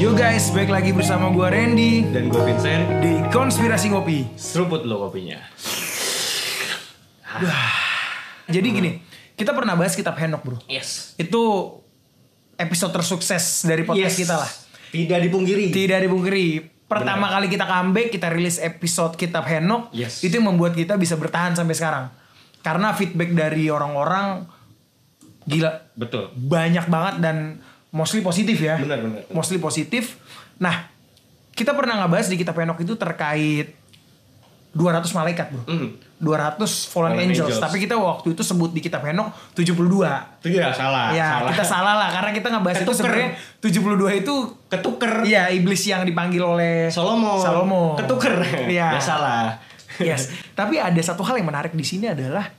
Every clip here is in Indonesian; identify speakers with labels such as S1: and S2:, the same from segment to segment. S1: Yo guys, balik lagi bersama gua Randy
S2: Dan gue Vincent,
S1: di Konspirasi Ngopi.
S2: seruput lo kopinya.
S1: Jadi gini, kita pernah bahas kitab Henok, Bro.
S2: Yes.
S1: Itu episode tersukses dari podcast kita lah.
S2: Tidak dipungkiri.
S1: Tidak dipungkiri, pertama kali kita comeback, kita rilis episode kitab Henok.
S2: Yes.
S1: Itu yang membuat kita bisa bertahan sampai sekarang. Karena feedback dari orang-orang gila
S2: Betul.
S1: banyak banget dan mostly positif ya.
S2: Benar, benar, benar.
S1: Mostly positif. Nah, kita pernah ngebahas di kitab Henok itu terkait 200 malaikat, Bro.
S2: Mm.
S1: 200 fallen,
S2: Fallen
S1: angels.
S2: angels.
S1: tapi kita waktu itu sebut di kitab Henok 72.
S2: Itu ya salah.
S1: ya,
S2: salah.
S1: kita salah lah karena kita ngebahas itu
S2: Ketuker.
S1: sebenarnya 72 itu
S2: Ketuker.
S1: Iya, iblis yang dipanggil oleh
S2: Solomon.
S1: Salomo.
S2: Ketuker.
S1: Iya.
S2: Ya salah.
S1: Yes. Tapi ada satu hal yang menarik di sini adalah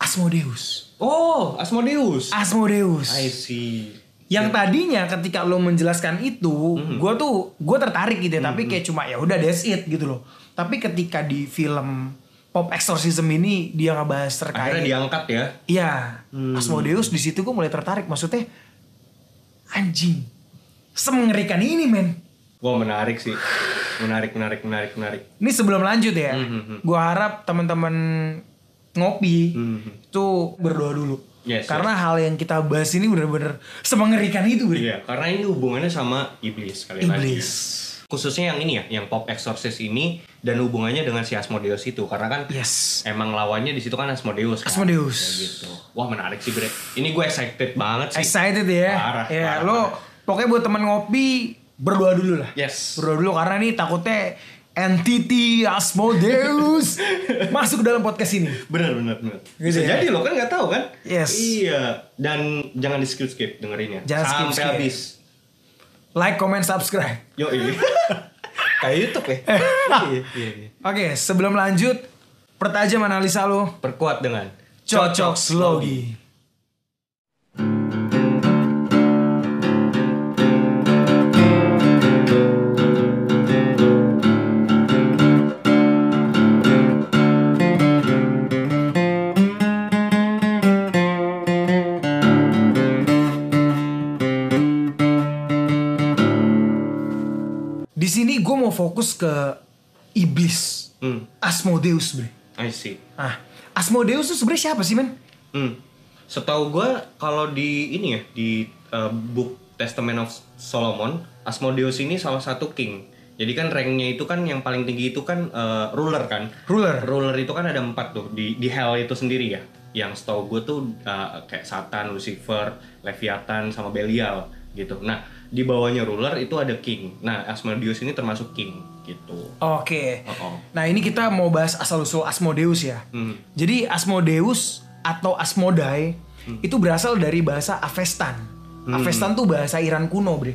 S1: Asmodeus.
S2: Oh, Asmodeus.
S1: Asmodeus.
S2: I see.
S1: Yang tadinya ketika lo menjelaskan itu,
S2: Mm-hmm.
S1: gue tuh gue tertarik gitu ya, tapi kayak cuma ya udah that's it gitu loh. Tapi ketika di film Pop Exorcism ini dia ngebahas
S2: Akhirnya Hmm.
S1: terkait
S2: diangkat ya.
S1: Iya, Asmodeus di situ gue mulai tertarik. Maksudnya anjing, semengerikan ini men.
S2: Wah menarik sih. Menarik, menarik, menarik, menarik.
S1: Ini sebelum lanjut ya,
S2: Mhm.
S1: gue harap teman-teman ngopi
S2: Mhm.
S1: itu berdoa dulu.
S2: Yes,
S1: Karena hal yang kita bahas ini bener-bener semengerikan itu, Bro.
S2: Iya, karena ini hubungannya sama iblis kali
S1: Iblis.
S2: Khususnya yang ini ya, yang pop exorcist ini dan hubungannya dengan si Asmodeus itu karena kan
S1: Yes.
S2: Emang lawannya di situ kan Asmodeus. Kan?
S1: Asmodeus.
S2: Kayak gitu. Wah menarik sih Bre. Ini gue excited banget sih.
S1: Excited ya.
S2: Parah,
S1: ya,
S2: parah,
S1: lo pokoknya buat teman ngopi berdoa dulu lah.
S2: Yes.
S1: Berdoa dulu karena nih takutnya entity Asmodeus masuk ke dalam podcast ini.
S2: Bener bener bener.
S1: Gitu
S2: Bisa
S1: ya?
S2: jadi lo kan nggak tahu kan?
S1: Yes.
S2: Iya. Dan jangan di skip skip dengerin ya.
S1: Jangan
S2: Sampai
S1: skip-skip.
S2: habis.
S1: Like, comment, subscribe.
S2: Yo ini. Kayak YouTube ya.
S1: Eh.
S2: iya, iya, iya.
S1: Oke, sebelum lanjut pertajam analisa lo.
S2: Perkuat dengan
S1: Cocok Slogi. Di sini gue mau fokus ke iblis
S2: Hmm.
S1: Asmodeus, bre.
S2: I see.
S1: Ah, Asmodeus tuh sebenarnya siapa sih men?
S2: Hmm. Setahu gue kalau di ini ya di uh, book Testament of Solomon, Asmodeus ini salah satu king. Jadi kan ranknya itu kan yang paling tinggi itu kan uh, ruler kan.
S1: Ruler.
S2: Ruler itu kan ada empat tuh di di hell itu sendiri ya. Yang setahu gue tuh uh, kayak Satan, Lucifer, Leviathan sama Belial gitu. Nah di bawahnya ruler itu ada king. Nah Asmodeus ini termasuk king gitu.
S1: Oke.
S2: Oh, oh.
S1: Nah ini kita mau bahas asal usul Asmodeus ya.
S2: Hmm.
S1: Jadi Asmodeus atau Asmodai
S2: Hmm.
S1: itu berasal dari bahasa Avestan. Avestan tuh bahasa Iran kuno bre.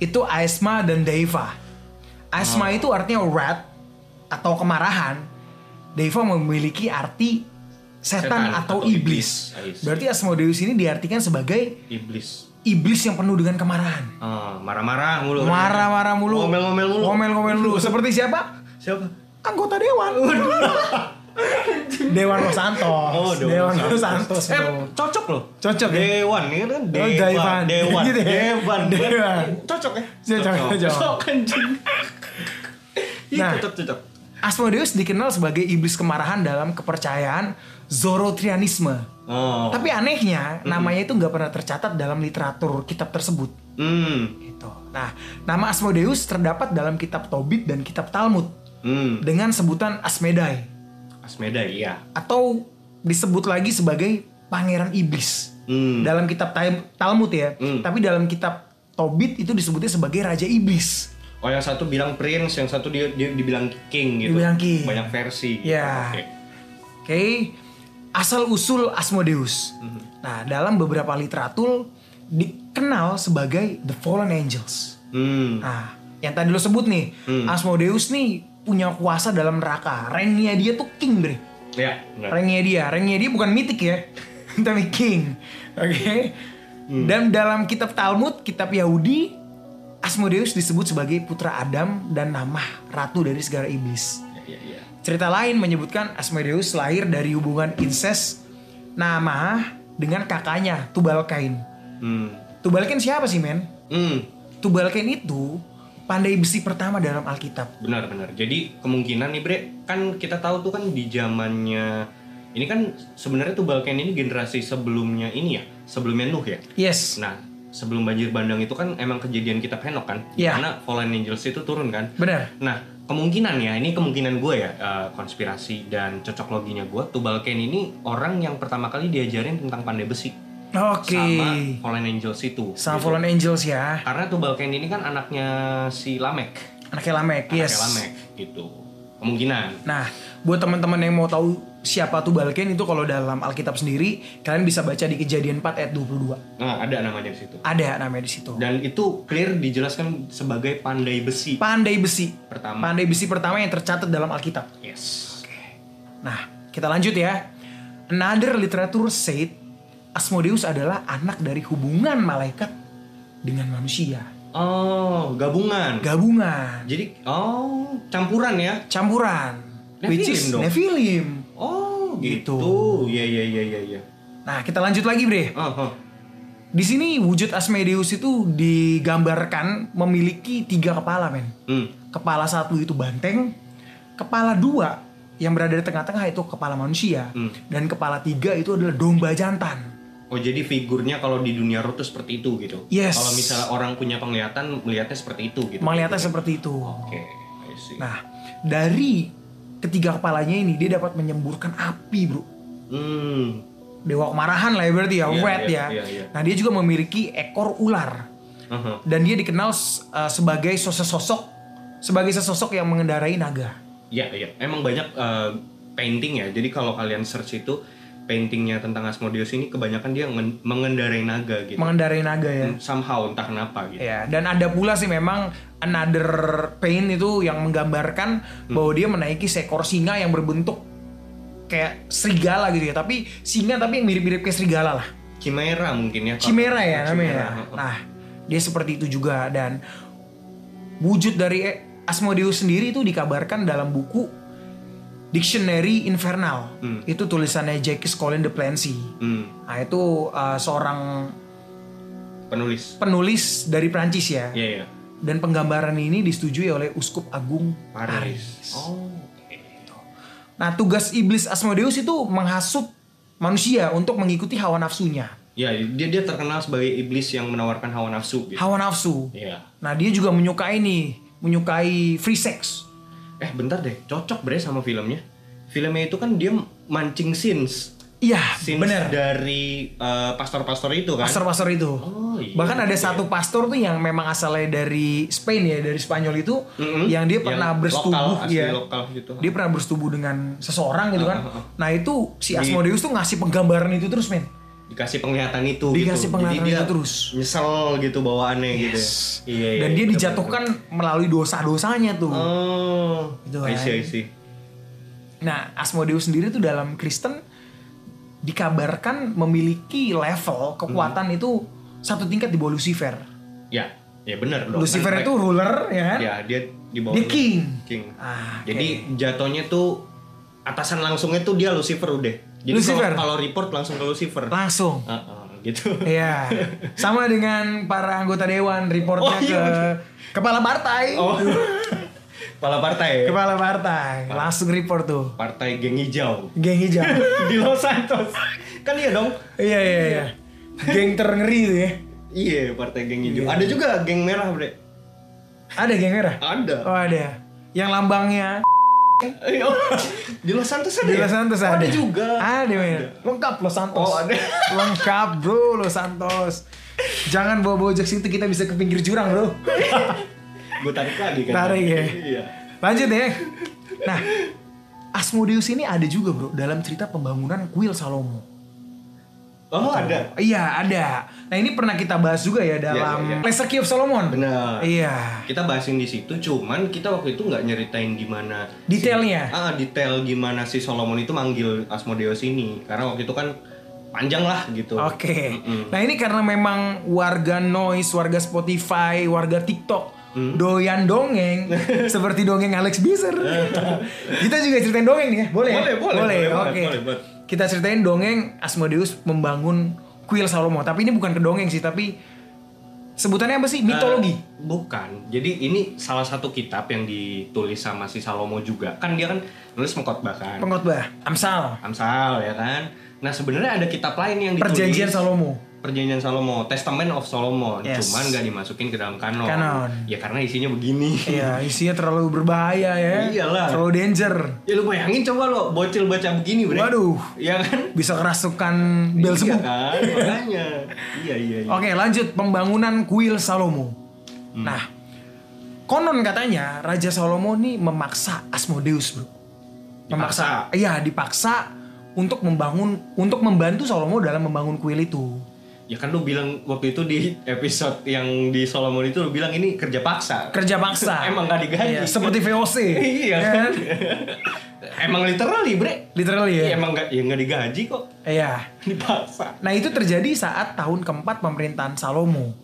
S1: Itu Aesma dan Deiva. Aesma
S2: Ah.
S1: itu artinya wrath atau kemarahan. Deiva memiliki arti setan,
S2: Setan
S1: atau,
S2: atau
S1: iblis.
S2: iblis. I see.
S1: Berarti Asmodeus ini diartikan sebagai
S2: Iblis.
S1: iblis yang penuh dengan kemarahan.
S2: Ah, marah-marah mulu.
S1: Marah-marah mulu.
S2: Ngomel-ngomel mulu.
S1: Ngomel-ngomel mulu. Seperti siapa?
S2: Siapa?
S1: Anggota dewan. dewan Los Santos.
S2: Oh, Dewan
S1: dewan
S2: Los
S1: Los Santos.
S2: Eh,
S1: bro.
S2: cocok loh.
S1: Cocok ya?
S2: Dewan, ini
S1: Oh,
S2: kan Dewan.
S1: Daivan.
S2: Dewan.
S1: Gitu ya?
S2: Dewan.
S1: Dewan. Iya,
S2: Cocok ya?
S1: Cocok, cocok.
S2: Cocok anjing. Ih,
S1: Nah.
S2: cocok, cocok.
S1: Asmodeus dikenal sebagai iblis kemarahan dalam kepercayaan Zoroastrianisme.
S2: Oh.
S1: Tapi anehnya, namanya itu nggak pernah tercatat dalam literatur kitab tersebut.
S2: Hmm.
S1: Gitu. Nah, nama Asmodeus terdapat dalam kitab Tobit dan kitab Talmud
S2: Hmm.
S1: dengan sebutan Asmedai
S2: Asmeda iya.
S1: atau disebut lagi sebagai pangeran iblis.
S2: Hmm.
S1: dalam kitab Taim- Talmud ya,
S2: Hmm.
S1: tapi dalam kitab Tobit itu disebutnya sebagai raja iblis.
S2: Oh yang satu bilang prince, yang satu dia, dia dibilang king gitu.
S1: Dibilang king.
S2: Banyak versi. gitu.
S1: Ya.
S2: Oke.
S1: Oke, asal usul Asmodeus.
S2: Hmm.
S1: Nah, dalam beberapa literatur dikenal sebagai the fallen angels.
S2: Hmm.
S1: Nah, yang tadi lo sebut nih, Asmodeus nih punya kuasa dalam neraka. Ranknya dia tuh king, Bre.
S2: Ya. benar.
S1: Ranknya dia, ranknya dia bukan mitik ya, tapi king. Oke.
S2: Hmm.
S1: Dan dalam kitab Talmud, kitab Yahudi, Asmodeus disebut sebagai putra Adam dan nama ratu dari segala iblis.
S2: Ya, ya, ya.
S1: Cerita lain menyebutkan Asmodeus lahir dari hubungan incest nama dengan kakaknya Tubalkain.
S2: Hmm.
S1: Tubalkain siapa sih men?
S2: Hmm.
S1: Tubalken itu pandai besi pertama dalam Alkitab.
S2: Benar-benar. Jadi kemungkinan nih Bre, kan kita tahu tuh kan di zamannya ini kan sebenarnya tuh Balkan ini generasi sebelumnya ini ya, sebelumnya Nuh ya.
S1: Yes.
S2: Nah, sebelum banjir bandang itu kan emang kejadian kitab Henok kan,
S1: Iya.
S2: karena Fallen Angels itu turun kan.
S1: Benar.
S2: Nah, kemungkinan ya, ini kemungkinan gue ya, eh, konspirasi dan cocok loginya gue, Tubal Cain ini orang yang pertama kali diajarin tentang pandai besi
S1: Oke.
S2: sama Fallen Angels itu.
S1: Sama
S2: Gitu.
S1: Fallen Angels ya.
S2: Karena Tubal Cain ini kan anaknya si Lamek,
S1: Anaknya Lamek,
S2: anaknya
S1: yes.
S2: Lamek gitu. Kemungkinan.
S1: Nah, buat teman-teman yang mau tahu siapa Tubalken itu kalau dalam Alkitab sendiri, kalian bisa baca di Kejadian 4 ayat 22.
S2: Nah, ada namanya di situ.
S1: Ada namanya di situ.
S2: Dan itu clear dijelaskan sebagai pandai besi
S1: Pandai besi.
S2: pertama.
S1: Pandai besi pertama yang tercatat dalam Alkitab.
S2: Yes.
S1: Nah, kita lanjut ya. Another literature said Asmodeus adalah anak dari hubungan malaikat dengan manusia.
S2: Oh, gabungan.
S1: Gabungan,
S2: Jadi oh, campuran ya.
S1: campuran, which
S2: Nephilim
S1: is
S2: dong.
S1: Nephilim.
S2: Oh,
S1: Gitu.
S2: gitu. Iya, iya, iya, iya, iya.
S1: Nah, kita lanjut lagi, Bre.
S2: Oh, oh.
S1: Di sini wujud Asmodeus itu digambarkan memiliki tiga kepala, men.
S2: Hmm.
S1: Kepala satu itu banteng, kepala dua yang berada di tengah-tengah itu kepala manusia,
S2: Hmm.
S1: dan kepala tiga itu adalah domba jantan.
S2: Oh, jadi figurnya kalau di dunia roh tuh seperti itu gitu.
S1: Yes.
S2: Kalau misalnya orang punya penglihatan melihatnya seperti itu gitu.
S1: Melihatnya
S2: Gitu.
S1: seperti itu.
S2: Oke, I see.
S1: Nah, dari ketiga kepalanya ini dia dapat menyemburkan api, Bro.
S2: Hmm.
S1: Dewa kemarahan lah ya berarti ya,
S2: Iya,
S1: Wrath
S2: iya,
S1: ya.
S2: iya, iya.
S1: Nah, dia juga memiliki ekor ular
S2: Aha.
S1: dan dia dikenal uh, sebagai sosok-sosok sebagai sesosok yang mengendarai naga.
S2: Iya, iya. Emang banyak eh, painting ya. Jadi kalau kalian search itu paintingnya tentang Asmodeus ini kebanyakan dia ngen- mengendarai naga gitu.
S1: Mengendarai naga ya.
S2: Somehow entah kenapa gitu.
S1: Ya, dan ada pula sih memang another pain itu yang menggambarkan
S2: Hmm.
S1: bahwa dia menaiki seekor singa yang berbentuk kayak serigala gitu ya, tapi singa tapi yang mirip-mirip kayak serigala lah.
S2: Chimera mungkin ya. Kak.
S1: Chimera ya
S2: Chimera.
S1: namanya. Nah, dia seperti itu juga dan wujud dari Asmodeus sendiri itu dikabarkan dalam buku Dictionary Infernal.
S2: Hmm.
S1: Itu tulisannya Jacques Colin de Plancy.
S2: Hmm,
S1: Nah, itu uh, seorang
S2: penulis.
S1: penulis dari Prancis ya.
S2: Iya, iya.
S1: Dan penggambaran ini disetujui oleh Uskup Agung
S2: Paris.
S1: Paris.
S2: Oh.
S1: Nah, tugas iblis Asmodeus itu menghasut manusia untuk mengikuti hawa nafsunya.
S2: Ya, dia dia terkenal sebagai iblis yang menawarkan hawa nafsu gitu.
S1: Hawa nafsu.
S2: Iya.
S1: Nah, dia juga menyukai nih, menyukai free sex.
S2: Eh, bentar deh. Cocok bre sama filmnya. Filmnya itu kan dia mancing scenes.
S1: Iya,
S2: Scenes
S1: bener.
S2: dari eh, pastor-pastor itu kan.
S1: Pastor-pastor itu.
S2: Oh, iya.
S1: Bahkan ada
S2: Iya.
S1: satu pastor tuh yang memang asalnya dari Spain ya, dari Spanyol itu,
S2: Mm-mm.
S1: yang dia pernah bersetubuh
S2: Mm-hmm. lokal, asli
S1: ya.
S2: lokal gitu.
S1: Dia pernah bersetubuh dengan seseorang gitu kan.
S2: Ah, ah, ah.
S1: Nah, itu si
S2: Di-
S1: Asmodeus tuh ngasih penggambaran itu terus, men.
S2: dikasih penglihatan itu
S1: Dikasih
S2: gitu.
S1: penglihatan
S2: Jadi dia
S1: itu terus.
S2: nyesel gitu bawaannya gitu ya. Iya, iya,
S1: Dan dia
S2: iya,
S1: dijatuhkan melalui dosa-dosanya tuh.
S2: bener-bener. Oh.
S1: Gitu
S2: I see,
S1: kan.
S2: I see.
S1: Nah, Asmodeus sendiri tuh dalam Kristen dikabarkan memiliki level
S2: Hmm.
S1: kekuatan itu satu tingkat di bawah Lucifer.
S2: Ya, ya benar dong.
S1: Lucifer
S2: Kan
S1: itu ruler ya kan?
S2: ya dia di bawah
S1: Dia king.
S2: king.
S1: Ah,
S2: Jadi jatuhnya tuh atasan langsungnya tuh dia Lucifer udah. Jadi
S1: Lucifer.
S2: kalau- kalau report langsung ke Lucifer.
S1: Langsung.
S2: Ah, ah, gitu.
S1: Iya. Sama dengan para anggota dewan reportnya
S2: Oh, iya,
S1: ke kepala partai.
S2: Oh. Kepala partai. ya?
S1: Kepala partai langsung report tuh.
S2: Partai geng hijau
S1: Geng hijau.
S2: di Los Santos. Kan iya dong.
S1: iya iya iya. Geng terngeri itu ya.
S2: Iya, partai geng hijau. Ada juga geng merah, Bre.
S1: Ada geng merah?
S2: Ada.
S1: Oh ada. Yang lambangnya
S2: Eh, oh, di Los Santos ada.
S1: Di
S2: ya?
S1: Los Santos
S2: Oh,
S1: ada.
S2: ada juga.
S1: Ada, men. Lengkap Los Santos.
S2: Oh, ada.
S1: Lengkap, bro, Los Santos. Jangan bawa-bawa jokes itu kita bisa ke pinggir jurang, bro.
S2: Gue tarik lagi kan.
S1: Tarik ya.
S2: Iya.
S1: Lanjut ya. Nah, Asmodeus ini ada juga, bro, dalam cerita pembangunan kuil Salomo.
S2: Oh, ada.
S1: Iya, ada. Nah, ini pernah kita bahas juga ya dalam
S2: Iya, iya, iya.
S1: Lesser Key of Solomon.
S2: Benar.
S1: Iya.
S2: kita bahasin di situ cuman kita waktu itu nggak nyeritain gimana
S1: Detailnya.
S2: si, ah detail gimana si Solomon itu manggil Asmodeus ini karena waktu itu kan panjang lah gitu
S1: Oke.
S2: Mm-mm.
S1: Nah, ini karena memang warga noise, warga Spotify, warga TikTok
S2: Mm.
S1: doyan dongeng seperti dongeng Alex Bizer. Kita juga ceritain dongeng nih ya. Boleh? ya?
S2: Boleh, boleh, boleh, boleh,
S1: Oke.
S2: boleh, boleh.
S1: Kita ceritain dongeng Asmodeus membangun kuil Salomo. Tapi ini bukan ke dongeng sih, tapi Sebutannya apa sih? Mitologi.
S2: Eh, bukan. Jadi ini salah satu kitab yang ditulis sama si Salomo juga. Kan dia kan nulis mengkotbah kan.
S1: Pengkhotbah. Amsal.
S2: Amsal ya kan. Nah sebenarnya ada kitab lain yang ditulis.
S1: Perjanjian Salomo.
S2: Perjanjian Salomo, Testament of Solomon,
S1: Yes.
S2: cuman gak dimasukin ke dalam kanon.
S1: Kanon.
S2: Ya karena isinya begini.
S1: Iya, isinya terlalu berbahaya ya.
S2: Iyalah.
S1: Terlalu danger.
S2: ya lu bayangin coba lo bocil baca begini bre.
S1: Waduh.
S2: Ya kan.
S1: Bisa kerasukan Belzebub.
S2: Iya kan, makanya. iya iya. iya.
S1: Oke, lanjut pembangunan kuil Salomo.
S2: Hmm.
S1: Nah, konon katanya Raja Salomo ini memaksa Asmodeus, Bro. Memaksa. Iya, dipaksa untuk membangun untuk membantu Salomo dalam membangun kuil itu.
S2: Ya kan lu bilang waktu itu di episode yang di Solomon itu lu bilang ini kerja paksa.
S1: Kerja paksa.
S2: Emang nggak digaji.
S1: Iya, seperti VOC. ya
S2: iya kan?
S1: kan?
S2: emang literally bre.
S1: Literally ya.
S2: Iya, emang nggak ya nggak digaji kok
S1: Iya.
S2: dipaksa.
S1: Nah, itu terjadi saat tahun keempat pemerintahan Salomo.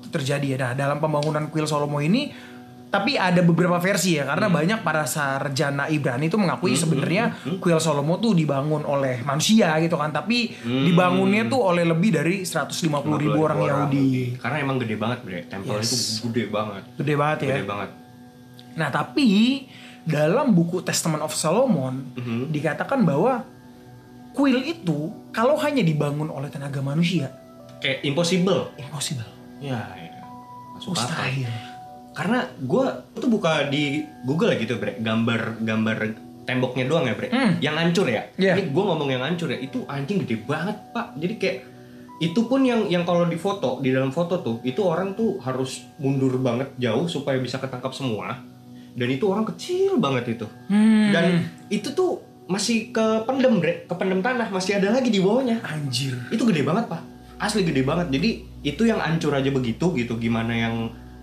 S1: itu terjadi ya. Nah, dalam pembangunan kuil Salomo ini tapi ada beberapa versi ya karena banyak para sarjana Ibrani itu mengakui sebenarnya kuil Salomo tuh dibangun oleh manusia gitu kan tapi dibangunnya tuh oleh lebih dari 150 ribu orang Yahudi
S2: Karena emang gede banget bre. Tempel itu gede banget.
S1: gede banget ya
S2: Gede banget.
S1: nah tapi dalam buku Testament of Solomon dikatakan bahwa kuil itu kalau hanya dibangun oleh tenaga manusia
S2: Kayak impossible.
S1: impossible
S2: Ya, ya. Masuk akal.
S1: mustahil
S2: Karena gue tuh buka di Google ya gitu bre, gambar gambar temboknya doang ya bre, yang hancur ya.
S1: Hmm. Iya.
S2: Ini gue ngomong yang hancur ya, itu anjing gede banget pak. Jadi kayak itu pun yang yang kalau di foto di dalam foto tuh itu orang tuh harus mundur banget jauh supaya bisa ketangkap semua. Dan itu orang kecil banget itu.
S1: Hmm.
S2: Dan itu tuh masih kependem bre, kependem tanah masih ada lagi di bawahnya
S1: anjir
S2: itu gede banget pak asli gede banget jadi itu yang hancur aja begitu gitu gimana yang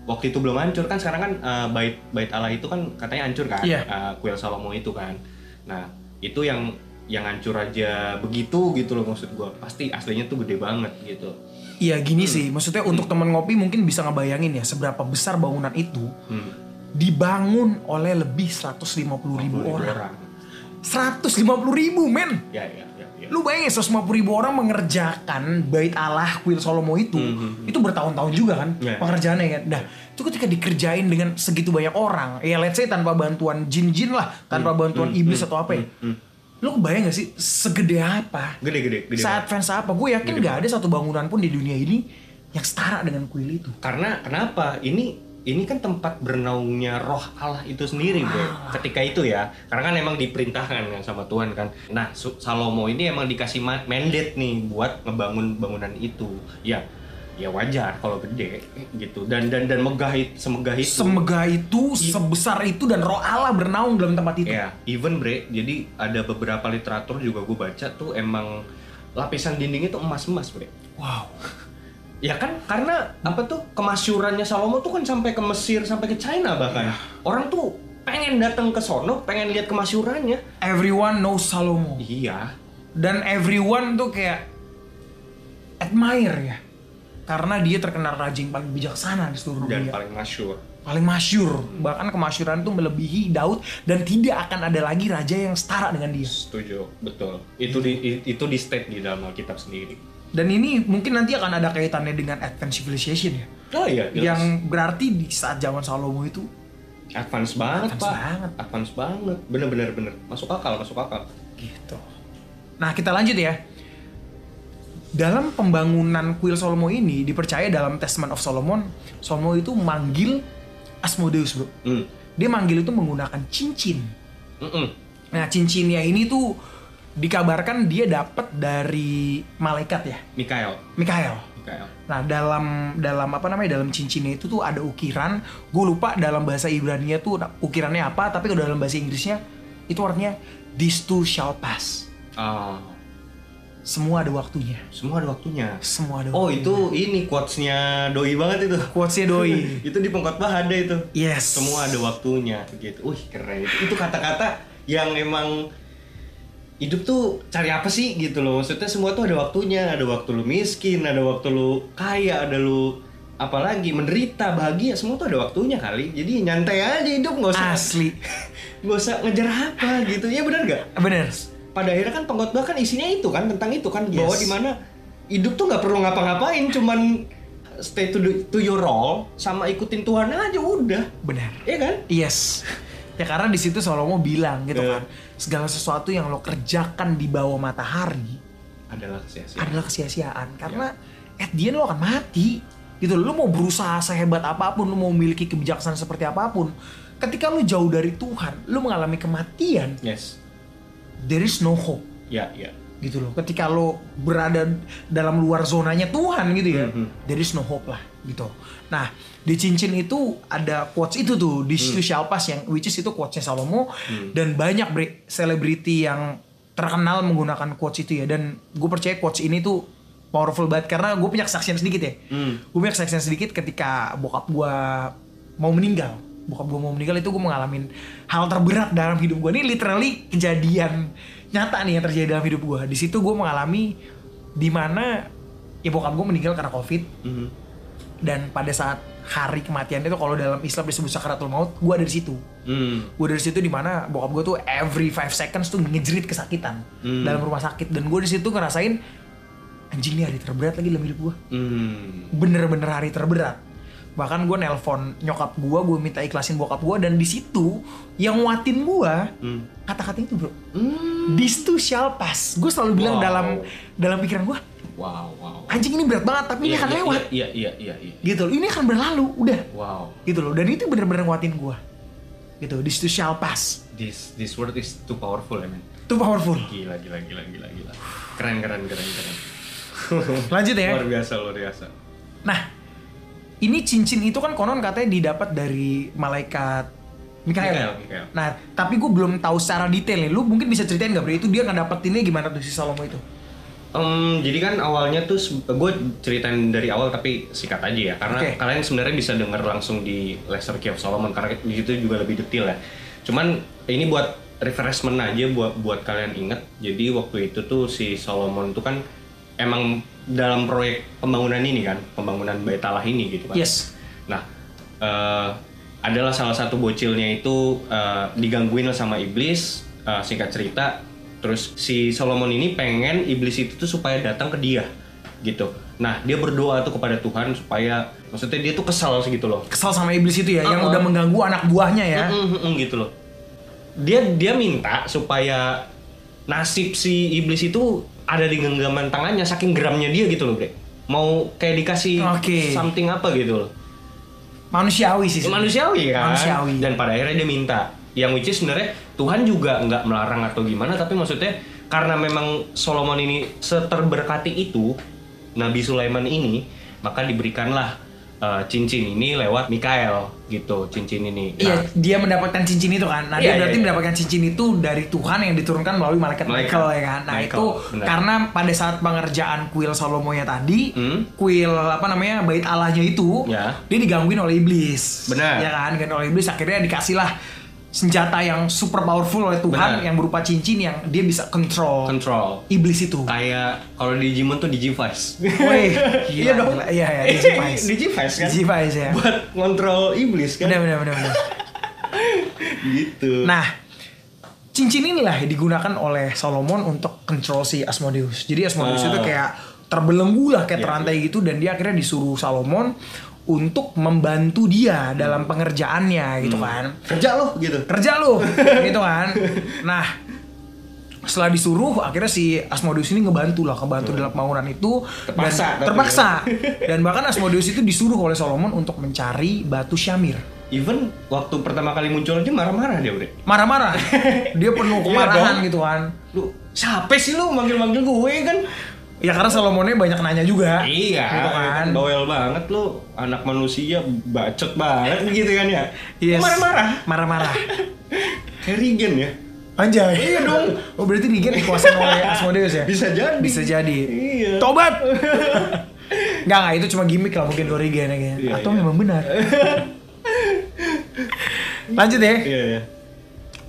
S2: waktu itu belum hancur kan sekarang kan eh, bait bait Allah itu kan katanya hancur kan
S1: Iya.
S2: Eh, kuil Salomo itu kan nah itu yang yang hancur aja begitu gitu loh maksud gua pasti aslinya tuh gede banget gitu
S1: Iya gini sih, maksudnya untuk teman ngopi mungkin bisa ngebayangin ya seberapa besar bangunan itu
S2: hmm.
S1: dibangun oleh lebih 150 ribu
S2: 20.000
S1: orang. 150 ribu men!
S2: ya ya ya, ya.
S1: Lu bayangin 150 ribu orang mengerjakan bait Allah kuil Salomo itu, itu bertahun-tahun juga kan
S2: Iya.
S1: pengerjaannya kan. Nah itu ketika dikerjain dengan segitu banyak orang, ya let's say tanpa bantuan jin-jin lah, tanpa bantuan iblis atau apa ya. Lu kebayang gak sih segede apa?
S2: gede gede gede
S1: saat fans apa gue yakin nggak ada satu bangunan pun di dunia ini yang setara dengan kuil itu
S2: Karena kenapa? Ini ini kan tempat bernaungnya roh Allah itu sendiri, bro. Ketika itu ya, karena kan emang diperintahkan kan sama Tuhan kan. Nah, Su- Salomo ini emang dikasih ma- mandate nih buat ngebangun bangunan itu. Ya, ya wajar kalau gede gitu. Dan dan dan megah it- semegah itu.
S1: semegah itu sebesar itu dan roh Allah bernaung dalam tempat itu
S2: Ya, even bre, jadi ada beberapa literatur juga gue baca tuh emang lapisan dinding itu emas-emas, bre.
S1: wow
S2: Ya kan karena apa tuh kemasyurannya Salomo tuh kan sampai ke Mesir, sampai ke China bahkan. Orang tuh pengen datang ke sono, pengen lihat kemasyurannya.
S1: everyone knows Salomo
S2: Iya.
S1: dan everyone tuh kayak admire ya karena dia terkenal raja yang paling bijaksana di seluruh
S2: Dan
S1: dunia
S2: paling masyur.
S1: paling masyur bahkan kemasyuran tuh melebihi Daud dan tidak akan ada lagi raja yang setara dengan dia
S2: Setuju, betul. Itu di i- itu di state di dalam Alkitab sendiri.
S1: dan ini mungkin nanti akan ada kaitannya dengan advanced civilization ya
S2: Oh iya, jelas.
S1: yang berarti di saat zaman Salomo itu
S2: advance banget,
S1: Advance
S2: Pak.
S1: banget.
S2: Advance banget. Bener-bener bener. Masuk akal, masuk akal.
S1: gitu. Nah, kita lanjut ya. Dalam pembangunan kuil Salomo ini dipercaya dalam Testament of Solomon, Salomo itu manggil Asmodeus, Bro.
S2: Hmm.
S1: Dia manggil itu menggunakan cincin.
S2: Mm-mm.
S1: Nah, cincinnya ini tuh dikabarkan dia dapat dari malaikat ya,
S2: Mikael,
S1: Mikael.
S2: Mikael.
S1: Nah, dalam dalam apa namanya? Dalam cincinnya itu tuh ada ukiran. Gue lupa dalam bahasa Ibrani-nya tuh nah, ukirannya apa, tapi kalau dalam bahasa Inggrisnya itu artinya this too shall pass.
S2: Ah,
S1: Semua ada waktunya.
S2: semua ada waktunya.
S1: Semua ada
S2: Oh,
S1: waktunya.
S2: itu ini quotes-nya doi banget itu.
S1: quotesnya doi.
S2: itu di pengkhotbah ada itu.
S1: Yes.
S2: semua ada waktunya gitu. Wih keren itu. Itu kata-kata yang emang hidup tuh cari apa sih gitu loh. Maksudnya semua tuh ada waktunya. Ada waktu lu miskin, ada waktu lu kaya, ada lu apalagi menderita, bahagia. Semua tuh ada waktunya kali. Jadi nyantai aja hidup nggak usah
S1: asli.
S2: nggak usah ngejar apa gitu. Ya benar gak?
S1: Bener.
S2: Pada akhirnya kan pengkhotbah kan isinya itu kan tentang itu kan bahwa
S1: Yes.
S2: dimana hidup tuh nggak perlu ngapa-ngapain, cuman stay to the- to your role sama ikutin Tuhan aja udah.
S1: benar
S2: Iya kan?
S1: yes ya karena di situ Salomo bilang gitu
S2: Iya.
S1: kan segala sesuatu yang lo kerjakan di bawah matahari
S2: Adalah sia-sia.
S1: adalah kesia-siaan karena at the end lo akan mati gitu lo mau berusaha sehebat apapun lo mau memiliki kebijaksanaan seperti apapun ketika lo jauh dari Tuhan lo mengalami kematian
S2: Yes.
S1: there is no hope
S2: Ya, ya.
S1: gitu loh ketika lo berada dalam luar zonanya Tuhan gitu ya
S2: Mhm.
S1: there is no hope lah gitu nah di cincin itu ada quotes itu tuh di situ Shalpas yang which is itu quotesnya Salomo dan banyak bre- selebriti yang terkenal menggunakan quotes itu ya dan gue percaya quotes ini tuh powerful banget karena gue punya kesaksian sedikit ya
S2: Hmm.
S1: gue punya kesaksian sedikit ketika bokap gue mau meninggal bokap gue mau meninggal itu gue mengalami hal terberat dalam hidup gue ini literally kejadian nyata nih yang terjadi dalam hidup gue di situ gue mengalami dimana ya bokap gue meninggal karena covid
S2: Mhm.
S1: dan pada saat hari kematian itu kalau dalam Islam disebut sakaratul maut gue ada di situ
S2: Hmm.
S1: gue dari situ dimana bokap gue tuh every 5 seconds tuh ngejerit kesakitan
S2: Hmm.
S1: dalam rumah sakit dan gue di situ ngerasain anjing nih hari terberat lagi dalam hidup gue
S2: Hmm.
S1: bener-bener hari terberat bahkan gue nelpon nyokap gue gue minta ikhlasin bokap gue dan di situ yang nguatin gue
S2: Hmm.
S1: kata-kata itu bro
S2: Hmm.
S1: this too shall pass gue selalu bilang
S2: Wow.
S1: dalam dalam pikiran gue
S2: Wow, wow.
S1: anjing ini berat banget tapi ini
S2: Iya,
S1: akan
S2: iya,
S1: lewat
S2: Iya, iya, iya, iya.
S1: gitu loh ini akan berlalu udah
S2: Wow.
S1: gitu loh dan itu bener-bener nguatin gue gitu this too shall pass
S2: This this word is too powerful, I mean.
S1: itu powerful
S2: Gila, gila, gila, gila, gila. Keren, keren, keren, keren.
S1: lanjut ya
S2: Luar biasa, luar biasa.
S1: Nah, ini cincin itu kan konon katanya didapat dari malaikat Mikael.
S2: Mikael, Mikael.
S1: Nah, tapi gue belum tahu secara detail nih. Lu mungkin bisa ceritain gak, Bre? Itu dia ngedapetinnya gimana tuh si Salomo itu?
S2: Em, jadi kan awalnya tuh gue ceritain dari awal tapi sikat aja ya karena
S1: Oke.
S2: kalian sebenarnya bisa denger langsung di Lesser Key of Solomon karena di situ juga lebih detail ya. Cuman ini buat refreshment aja buat buat kalian inget. Jadi waktu itu tuh si Solomon tuh kan emang dalam proyek pembangunan ini kan, pembangunan Bait Allah ini gitu kan.
S1: Yes.
S2: Nah, eh, adalah salah satu bocilnya itu eh, digangguin lah sama iblis. Eh, singkat cerita, terus si Solomon ini pengen iblis itu tuh supaya datang ke dia, gitu. Nah, dia berdoa tuh kepada Tuhan supaya, maksudnya dia tuh kesal gitu loh.
S1: Kesal sama iblis itu ya, yang
S2: Uh-uh.
S1: udah mengganggu anak buahnya ya.
S2: Mm, mm, mm, gitu loh. Dia dia minta supaya nasib si iblis itu ada di genggaman tangannya saking geramnya dia gitu loh, Bre. Mau kayak dikasih
S1: Oke.
S2: something apa gitu loh.
S1: Manusiawi sih.
S2: Ya, manusiawi kan
S1: Manusiawi.
S2: dan pada akhirnya dia minta yang which is sebenarnya Tuhan juga nggak melarang atau gimana tapi maksudnya karena memang Solomon ini seterberkati itu Nabi Sulaiman ini maka diberikanlah uh, cincin ini lewat Mikael gitu cincin ini
S1: Iya,
S2: Nah,
S1: dia mendapatkan cincin itu kan. Nah,
S2: Iya,
S1: dia
S2: iya,
S1: berarti
S2: iya.
S1: mendapatkan cincin itu dari Tuhan yang diturunkan melalui malaikat
S2: Malaikat.
S1: Michael ya kan. Nah,
S2: Michael,
S1: itu
S2: benar.
S1: karena pada saat pengerjaan kuil Salomonya tadi,
S2: Hmm.
S1: kuil apa namanya? bait Allahnya itu
S2: Ya.
S1: dia digangguin oleh iblis.
S2: Benar.
S1: Ya kan, digangguin oleh iblis akhirnya dikasihlah senjata yang super powerful oleh Tuhan
S2: Benar.
S1: yang berupa cincin yang dia bisa kontrol
S2: control
S1: iblis itu.
S2: kayak kalau di Digimon tuh Digivice
S1: Woi, gila,
S2: iya dong
S1: gila. Iya, iya, Digivice.
S2: Digivice kan
S1: Digivice, ya.
S2: buat kontrol iblis kan
S1: Benar benar benar benar.
S2: gitu
S1: Nah, cincin inilah yang digunakan oleh Solomon untuk control si Asmodeus. Jadi Asmodeus
S2: Ah.
S1: itu kayak terbelenggu lah, kayak
S2: Iya,
S1: terantai gitu dan dia akhirnya disuruh Solomon untuk membantu dia dalam
S2: Hmm.
S1: pengerjaannya gitu kan.
S2: kerja loh gitu
S1: Kerja lu, gitu kan. Nah, setelah disuruh akhirnya si Asmodeus ini ngebantu lah ngebantu dalam pembangunan itu
S2: Hmm. Terpaksa,
S1: dan,
S2: tapi ya.
S1: terpaksa dan bahkan Asmodeus itu disuruh oleh Solomon untuk mencari batu syamir
S2: Even waktu pertama kali muncul aja marah-marah dia, Bre.
S1: marah-marah dia penuh
S2: Iya
S1: kemarahan
S2: dong.
S1: gitu kan
S2: Lu siapa sih lu manggil-manggil gue kan?
S1: Ya karena Salomonnya banyak nanya juga.
S2: Iya,
S1: Gitu kan.
S2: Bawel banget lu, anak manusia bacot banget gitu kan ya. Lu
S1: Yes.
S2: Marah-marah.
S1: Marah-marah.
S2: Harrigan ya.
S1: Anjay.
S2: Iya dong.
S1: Oh berarti Nigen dikuasain oleh Asmodeus ya?
S2: Bisa jadi.
S1: Bisa jadi.
S2: Iya.
S1: Tobat. Enggak, enggak, itu cuma gimmick lah mungkin Origen ya kayaknya.
S2: Iya,
S1: Atau
S2: iya.
S1: memang benar. Lanjut ya.
S2: Iya, iya.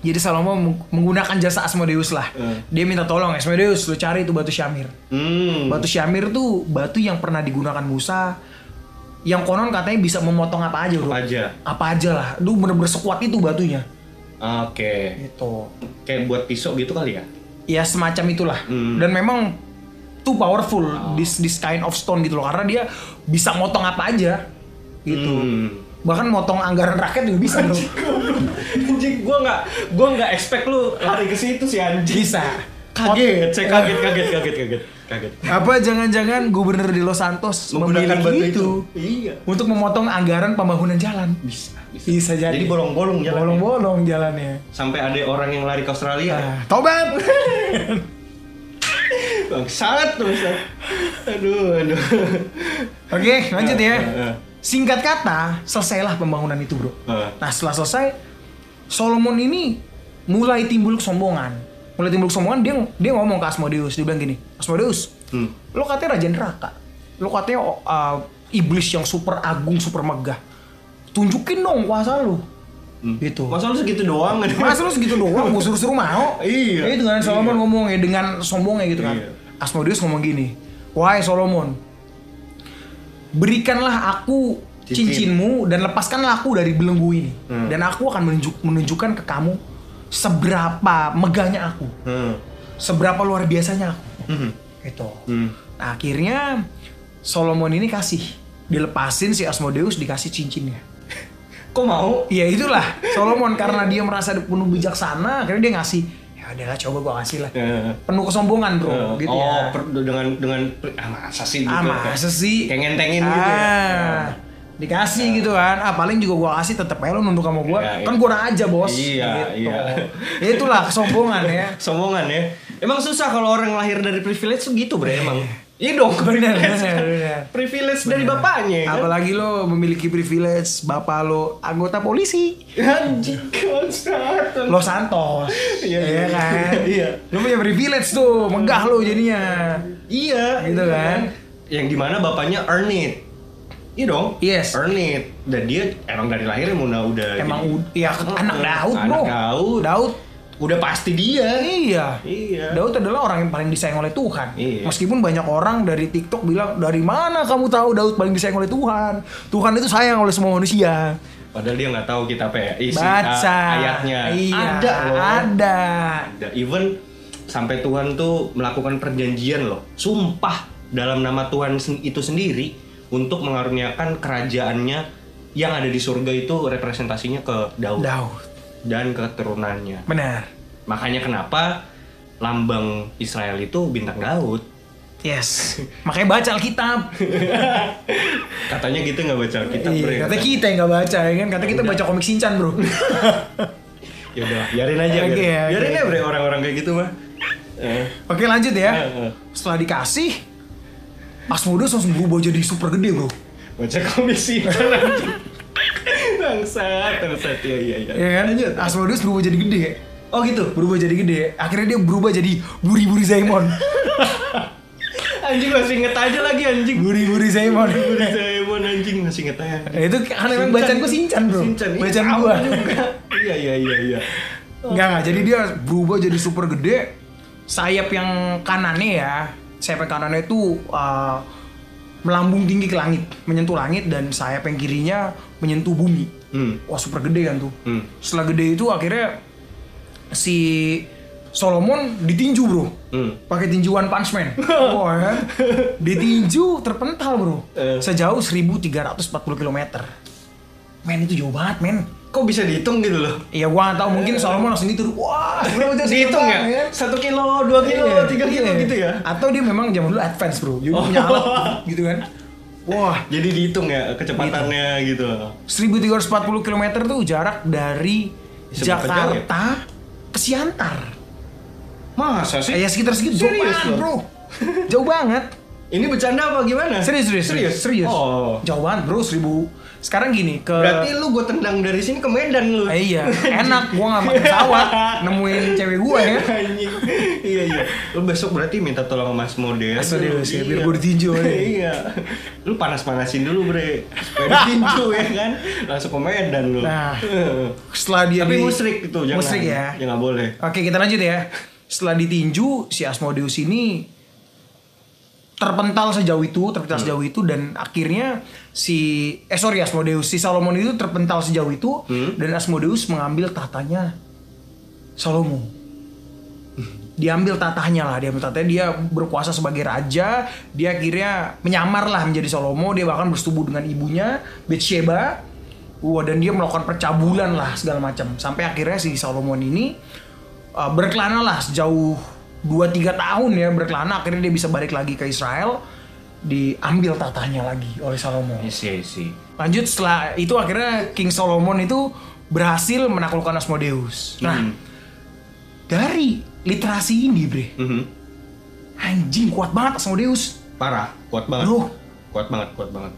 S1: Jadi Salomo meng- menggunakan jasa Asmodeus lah.
S2: Hmm.
S1: Dia minta tolong Asmodeus lu cari itu batu Syamir.
S2: Hmm.
S1: Batu Syamir tuh batu yang pernah digunakan Musa yang konon katanya bisa memotong apa aja, Bro.
S2: Apa aja.
S1: apa aja lah lu bener-bener sekuat itu batunya
S2: Oke.
S1: gitu
S2: Kayak buat pisau gitu kali ya.
S1: ya semacam itulah
S2: Hmm. Oh.
S1: dan memang too powerful this this kind of stone gitu loh karena dia bisa motong apa aja gitu
S2: Hmm.
S1: bahkan motong anggaran rakyat juga bisa loh
S2: anjing gua nggak gua nggak expect lu lari ke situ sih anjing
S1: bisa
S2: kaget saya kaget kaget kaget kaget kaget
S1: apa jangan-jangan gubernur di Los Santos
S3: Menggunakan
S1: memiliki
S3: batu
S1: itu,
S3: itu.
S2: iya
S1: untuk memotong anggaran pembangunan jalan
S2: bisa bisa,
S1: bisa jadi
S2: jadi bolong-bolong jalan
S1: bolong-bolong jalannya
S2: sampai ada orang yang lari ke Australia
S1: Ah, tobat
S2: bangsat tuh Ustaz. aduh aduh
S1: oke lanjut ya
S2: Eh, eh.
S1: singkat kata selesailah pembangunan itu bro
S2: Eh.
S1: nah setelah selesai Solomon ini mulai timbul kesombongan mulai timbul kesombongan dia dia ngomong ke Asmodeus dia bilang gini Asmodeus
S2: Hmm.
S1: lo katanya raja neraka lo katanya oh, uh, iblis yang super agung super megah tunjukin dong kuasa lo gitu
S2: hmm. masa lu segitu doang
S1: Mas lu segitu doang, gue suruh-suruh mau.
S2: Iya.
S1: Itu kan Solomon ngomong ya dengan sombongnya gitu kan.
S2: Iya.
S1: Asmodeus ngomong gini, "Wahai Solomon, berikanlah aku
S2: Cincin.
S1: cincinmu dan lepaskanlah aku dari belenggu ini
S2: Hmm.
S1: dan aku akan menunjuk- menunjukkan ke kamu seberapa megahnya aku,
S2: Hmm.
S1: seberapa luar biasanya aku."
S2: Hmm.
S1: Gitu.
S2: Hmm.
S1: Nah, akhirnya Solomon ini kasih dilepasin si Asmodeus dikasih cincinnya.
S2: kok mau
S1: Iya itulah Solomon karena dia merasa penuh bijaksana akhirnya dia ngasih ya udahlah coba gua kasih lah
S2: Eh.
S1: penuh kesombongan bro
S2: Eh,
S1: Iya. gitu
S2: oh,
S1: ya
S2: per- dengan dengan ah masa sih gitu
S1: ah
S2: ya, kayak-
S1: masa sih
S2: kayak ngentengin gitu ya.
S1: Ah, dikasih gitu kan ah paling juga gua kasih tetep aja lo nunduk sama gua
S2: Iya, iya.
S1: kan gua aja bos
S2: Iya,
S1: gitu.
S2: iya.
S1: Ya, itulah kesombongan ya
S2: Sombongan ya. Emang susah kalau orang lahir dari privilege tuh gitu bre emang. Iya dong.
S1: Bener,
S2: privilege
S1: bener,
S2: kan.
S1: bener.
S2: Privilege dari bapaknya ya kan.
S1: apalagi lo memiliki privilege bapak lo anggota polisi
S2: Anjing konsert.
S1: Los Santos
S2: Iya, iya.
S1: kan
S2: Iya.
S1: lo punya privilege tuh megah lo jadinya
S2: Iya.
S1: Gitu kan.
S2: Yang dimana bapaknya earn it. Iya dong.
S1: Yes.
S2: Earn it. Dan dia emang dari lahir emang udah udah
S1: Emang
S2: jadi-
S1: ud- ya
S2: Heeh,
S1: anak Daud
S2: anak
S1: bro.
S2: Daud.
S1: Daud.
S2: udah pasti dia.
S1: Iya.
S2: Iya.
S1: Daud adalah orang yang paling disayang oleh Tuhan.
S2: Iya.
S1: Meskipun banyak orang dari TikTok bilang dari mana kamu tahu Daud paling disayang oleh Tuhan? Tuhan itu sayang oleh semua manusia.
S2: Padahal dia nggak tahu kita apa ya isi ah,
S1: Baca
S2: ayatnya.
S1: Iya,
S2: Ada loh.
S1: Ada.
S2: Ada. Even sampai Tuhan tuh melakukan perjanjian loh, sumpah dalam nama Tuhan sen- itu sendiri untuk mengaruniakan kerajaannya yang ada di surga itu representasinya ke Daud
S1: Daud.
S2: dan keturunannya.
S1: Benar.
S2: Makanya kenapa lambang Israel itu bintang Daud.
S1: Yes. Makanya baca Alkitab.
S2: Katanya gitu nggak baca kita
S1: Iya, kata kita yang nggak baca ya kan? Kata kita baca komik Shinchan, Bro.
S2: Ya udah, biarin aja.
S1: Oke,
S2: biarin
S1: oke.
S2: Biarin ya, bre orang-orang kayak gitu mah. Eh,
S1: Oke, lanjut ya.
S2: eh, eh.
S1: Setelah dikasih Asmodeus langsung berubah jadi super gede, Bro.
S2: baca komisi anjing. bangsat bangsat ya iya iya
S1: Ya kan? Asmodeus berubah jadi gede. Oh gitu, berubah jadi gede. Akhirnya dia berubah jadi buri-buri Zaimon.
S2: anjing masih inget aja lagi anjing
S1: buri-buri Zaimon.
S2: Budi Zaimon anjing masih inget aja
S1: Nah, itu karena memang bacaan gue Sinchan bro.
S2: Sinchan iya,
S1: Bacaan
S2: sama
S1: gue.
S2: juga. iya iya iya iya
S1: Enggak, enggak. Jadi dia berubah jadi super gede. Sayap yang kanannya ya. Sayap yang kanannya itu uh, melambung tinggi ke langit. Menyentuh langit dan sayap yang kirinya menyentuh bumi.
S2: hmm
S1: Wah super gede kan tuh.
S2: hmm
S1: Setelah gede itu akhirnya si Solomon ditinju bro.
S2: hmm
S1: pakai tinjuan punchman wah kan ditinju terpental bro
S2: Eh.
S1: sejauh 1340 km men itu jauh banget men
S2: kok bisa dihitung gitu loh
S1: Iya gua gak tau mungkin Solomon langsung gitu wah berapa jauh sih
S2: Eh. dihitung
S1: terbang,
S2: ya satu kilo dua kilo
S1: Iya,
S2: tiga kilo
S1: iya.
S2: gitu ya
S1: atau dia memang zaman dulu advance bro jadi
S2: Oh.
S1: punya alat gitu kan wah
S2: jadi dihitung ya kecepatannya gitu loh
S1: 1340 km tuh jarak dari
S2: Seberapa jauh ya?
S1: Jakarta ke Siantar
S2: masa
S1: Eh, ya sekitar segitu jauh
S2: Serius
S1: banget
S2: loh?
S1: bro jauh banget
S2: ini bercanda apa gimana
S1: Serius, serius, serius, serius.
S2: oh
S1: Jauh banget bro, seribu. Sekarang gini ke.
S2: berarti lu gue tendang dari sini ke Medan lu
S1: Eh, iya, enak. Gua nggak pakai pesawat, nemuin cewek gua ya.
S2: Anjing. iya iya. Lu besok berarti minta tolong sama Mas Mode.
S1: Mas Mode, ya, biar gua ditinju, ya.
S2: Iya. Lu panas-panasin dulu, Bre. Supaya ditinju ya kan. Langsung ke Medan lu.
S1: Nah.
S2: Eh.
S1: Setelah dia
S2: Tapi
S1: di-
S2: musrik itu jangan.
S1: Musrik ya.
S2: Ya nggak boleh.
S1: Oke kita lanjut ya. Setelah ditinju si Asmodeus ini terpental sejauh itu, terpental sejauh itu dan akhirnya si eh sorry Asmodeus si Salomon itu terpental sejauh Hmm. itu dan Asmodeus mengambil tahtanya Salomo. diambil tatahnya lah diambil tatahnya dia berkuasa sebagai raja dia akhirnya menyamar lah menjadi Salomo dia bahkan bersetubuh dengan ibunya Bathsheba wah dan dia melakukan percabulan lah segala macam sampai akhirnya si Salomon ini uh, berkelana lah sejauh 2-3 tahun ya berkelana akhirnya dia bisa balik lagi ke Israel diambil tatahnya lagi oleh Salomo
S2: Isi isi.
S1: lanjut setelah itu akhirnya King Solomon itu berhasil menaklukkan Asmodeus.
S2: Hmm.
S1: Nah, dari literasi ini, Bre,
S2: Mhm.
S1: anjing kuat banget Asmodeus.
S2: Parah, kuat banget.
S1: Bro.
S2: Kuat banget, kuat banget.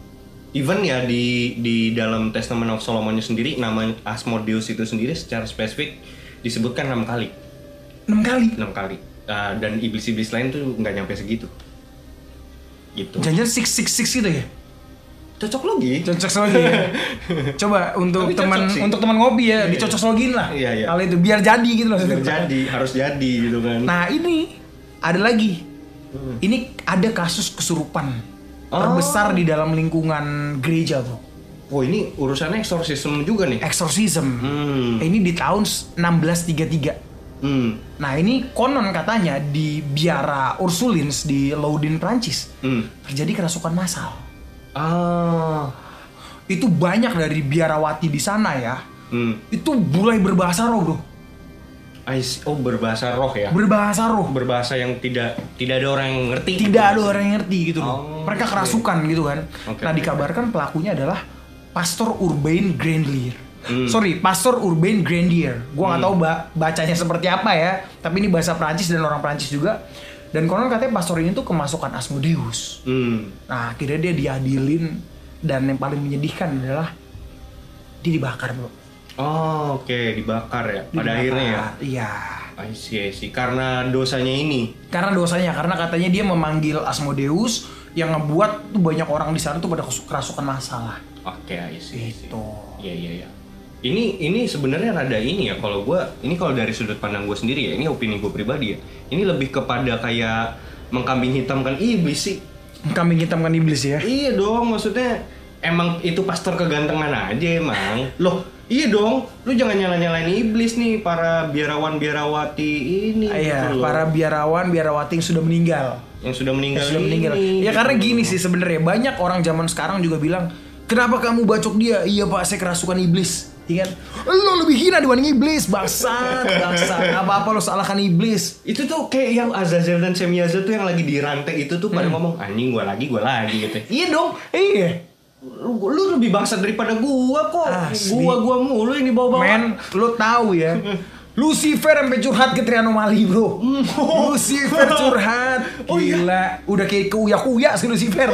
S2: Even ya di di dalam Testament of Solomonnya sendiri nama Asmodeus itu sendiri secara spesifik disebutkan enam kali,
S1: 6 kali.
S2: enam kali. Ah, dan iblis-iblis lain tuh nggak nyampe segitu. Gitu.
S1: Jangan 666 gitu ya.
S2: Cocok lagi.
S1: Cocok lagi ya. Coba untuk
S2: Tapi cocok
S1: teman
S2: sih.
S1: untuk teman ngopi ya, dicocok login lah.
S2: Iya, iya.
S1: Hal itu biar jadi gitu loh.
S2: Biar jadi, harus jadi gitu kan.
S1: Nah, ini ada lagi. Ini ada kasus kesurupan
S2: Hmm. Oh.
S1: terbesar di dalam lingkungan gereja, Bro.
S2: Oh ini urusannya exorcism juga
S1: Eh.
S2: nih.
S1: Exorcism.
S2: Iya. Hmm.
S1: Ini di tahun 1633.
S2: Hmm.
S1: Nah ini konon katanya di biara Ursulins di Loudun Prancis
S2: Hmm.
S1: terjadi kerasukan massal.
S2: Ah.
S1: Itu banyak dari biarawati di sana ya.
S2: Hmm.
S1: Itu mulai berbahasa roh bro,
S2: I see. Oh berbahasa roh ya.
S1: berbahasa roh.
S2: Berbahasa yang tidak tidak ada orang yang ngerti.
S1: Tidak ada orang yang ngerti gitu
S2: Oh,
S1: loh. Mereka
S2: oke.
S1: kerasukan gitu kan.
S2: Oke,
S1: Nah
S2: oke.
S1: dikabarkan pelakunya adalah Pastor Urbain Grandier.
S2: Hmm.
S1: Sorry, Pastor Urbain Grandier. Gua nggak tahu ba- bacanya seperti apa ya. Tapi ini bahasa Prancis dan orang Prancis juga. Dan konon katanya pastor ini tuh kemasukan Asmodeus.
S2: Hmm.
S1: Nah, akhirnya dia diadilin dan yang paling menyedihkan adalah dia dibakar, Bro.
S2: Oh oke dibakar ya.
S1: Dibakar.
S2: Pada akhirnya ya.
S1: Iya.
S2: I see, I see. Karena dosanya ini.
S1: Karena dosanya, karena katanya dia memanggil Asmodeus yang ngebuat tuh banyak orang di sana tuh pada kesu- kerasukan masalah.
S2: Oke I see. I see.
S1: Gitu.
S2: Iya iya iya. Ini ini sebenarnya rada ini ya kalau gua ini kalau dari sudut pandang gue sendiri ya ini opini gue pribadi ya. Ini lebih kepada kayak mengkambing hitamkan iblis sih.
S1: Kambing hitam kan iblis ya.
S2: Iya dong, maksudnya emang itu pastor kegantengan aja emang. Loh, iya dong. Lu jangan nyala-nyalain iblis nih para biarawan-biarawati ini.
S1: Iya,
S2: gitu loh.
S1: para biarawan, biarawati yang sudah meninggal.
S2: yang sudah meninggal
S1: Yang sudah meninggal.
S2: ini,
S1: Ya
S2: gitu.
S1: karena gini sih sebenarnya banyak orang zaman sekarang juga bilang, "Kenapa kamu bacok dia?" "Iya, Pak, saya kerasukan iblis." Iya kan? Lo lebih hina dibanding iblis, bangsat, bangsat. Apa-apa lo salahkan iblis.
S2: itu tuh kayak yang Azazel dan Semiazel tuh yang lagi di rantai itu tuh pada ngomong anjing gua lagi gua lagi gitu.
S1: Iya dong. Iya.
S2: Lu, lu lebih bangsa daripada gua kok.
S1: Asli.
S2: Gua gua mulu yang dibawa-bawa.
S1: Men, lo tahu ya. Lucifer sampai curhat ke Trianomali, Bro. Lucifer curhat.
S2: Oh, iya.
S1: Gila, udah kayak keuyak-keuyak si Lucifer.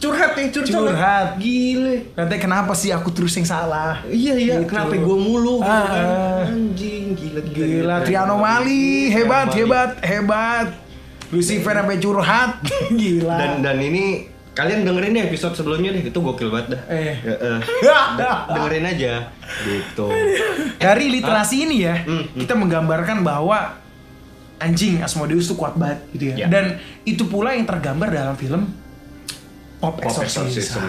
S2: curhat ya curhat.
S1: Curhat.
S2: Gile.
S1: Nanti kenapa sih aku terus yang salah?
S2: Iya iya,
S1: Gitu.
S2: kenapa gua mulu? gitu
S1: Ah,
S2: kan.
S1: ah.
S2: Anjing, gila gila.
S1: Gila, Trianomali, hebat, hebat, hebat. Lucifer sampai curhat. Gila.
S2: Dan dan ini kalian dengerin deh episode sebelumnya deh, itu gokil banget dah.
S1: Eh.
S2: Ya, eh. Da- dengerin aja gitu.
S1: Dari literasi ini ya,
S2: Hmm,
S1: kita menggambarkan bahwa anjing Asmodeus tuh kuat banget gitu ya.
S2: Ya.
S1: Dan itu pula yang tergambar dalam film Pop,
S2: Pop Exorcism.
S1: Exorcism.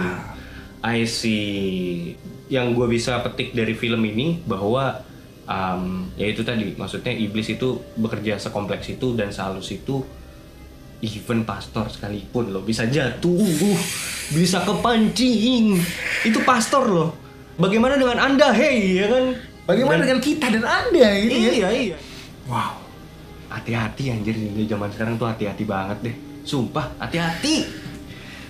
S2: I see. Yang gue bisa petik dari film ini bahwa um, ya itu tadi maksudnya iblis itu bekerja sekompleks itu dan sehalus itu even pastor sekalipun loh bisa jatuh, bisa kepancing. Itu pastor loh. Bagaimana dengan anda, hei ya kan?
S1: Bagaimana dengan kita dan Anda gitu ya?
S2: Iya iya.
S1: Wow.
S2: Hati-hati anjir di zaman sekarang tuh hati-hati banget deh. Sumpah, hati-hati.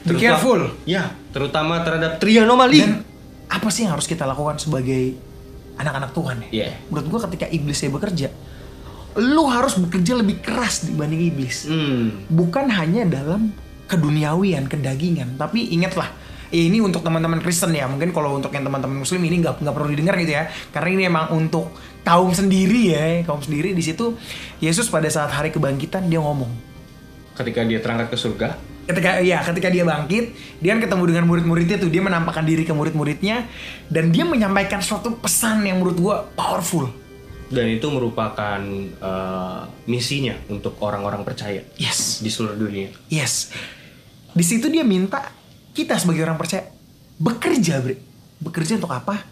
S1: Be careful.
S2: Ya, terutama terhadap trianomali.
S1: Dan apa sih yang harus kita lakukan sebagai anak-anak Tuhan ya?
S2: Iya.
S1: Menurut gua ketika iblisnya bekerja, lu harus bekerja lebih keras dibanding iblis.
S2: Hmm.
S1: bukan hanya dalam keduniawian, kedagingan, tapi ingatlah ya ini untuk teman-teman Kristen ya, mungkin kalau untuk yang teman-teman Muslim ini nggak nggak perlu didengar gitu ya, karena ini emang untuk kaum sendiri ya, kaum sendiri di situ Yesus pada saat hari kebangkitan dia ngomong,
S2: Ketika dia terangkat ke surga,
S1: ketika ya ketika dia bangkit dia kan ketemu dengan murid-muridnya tuh dia menampakkan diri ke murid-muridnya dan dia menyampaikan suatu pesan yang menurut gua powerful
S2: dan itu merupakan eh, misinya untuk orang-orang percaya
S1: yes
S2: di seluruh dunia.
S1: Yes. Di situ dia minta kita sebagai orang percaya bekerja, Bre. Bekerja untuk apa?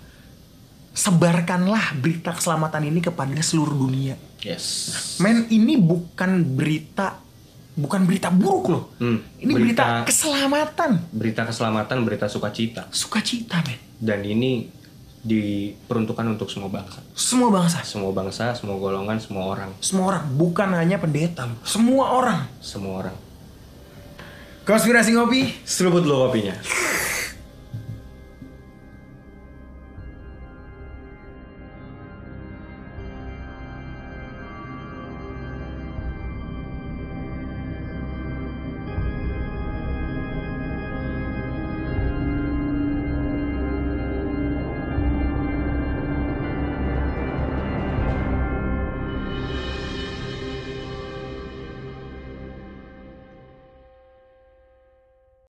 S1: sebarkanlah berita keselamatan ini kepada seluruh dunia.
S2: Yes.
S1: Men, ini bukan berita bukan berita buruk loh.
S2: Hmm,
S1: Ini berita,
S2: berita-
S1: keselamatan,
S2: Berita keselamatan, berita sukacita.
S1: sukacita, men.
S2: Dan ini diperuntukkan untuk semua bangsa.
S1: Semua bangsa,
S2: Semua bangsa, semua golongan, semua orang,
S1: semua orang, bukan hanya pendeta loh. Semua orang.
S2: semua orang.
S1: Konspirasi ngopi
S2: Seruput lo kopinya.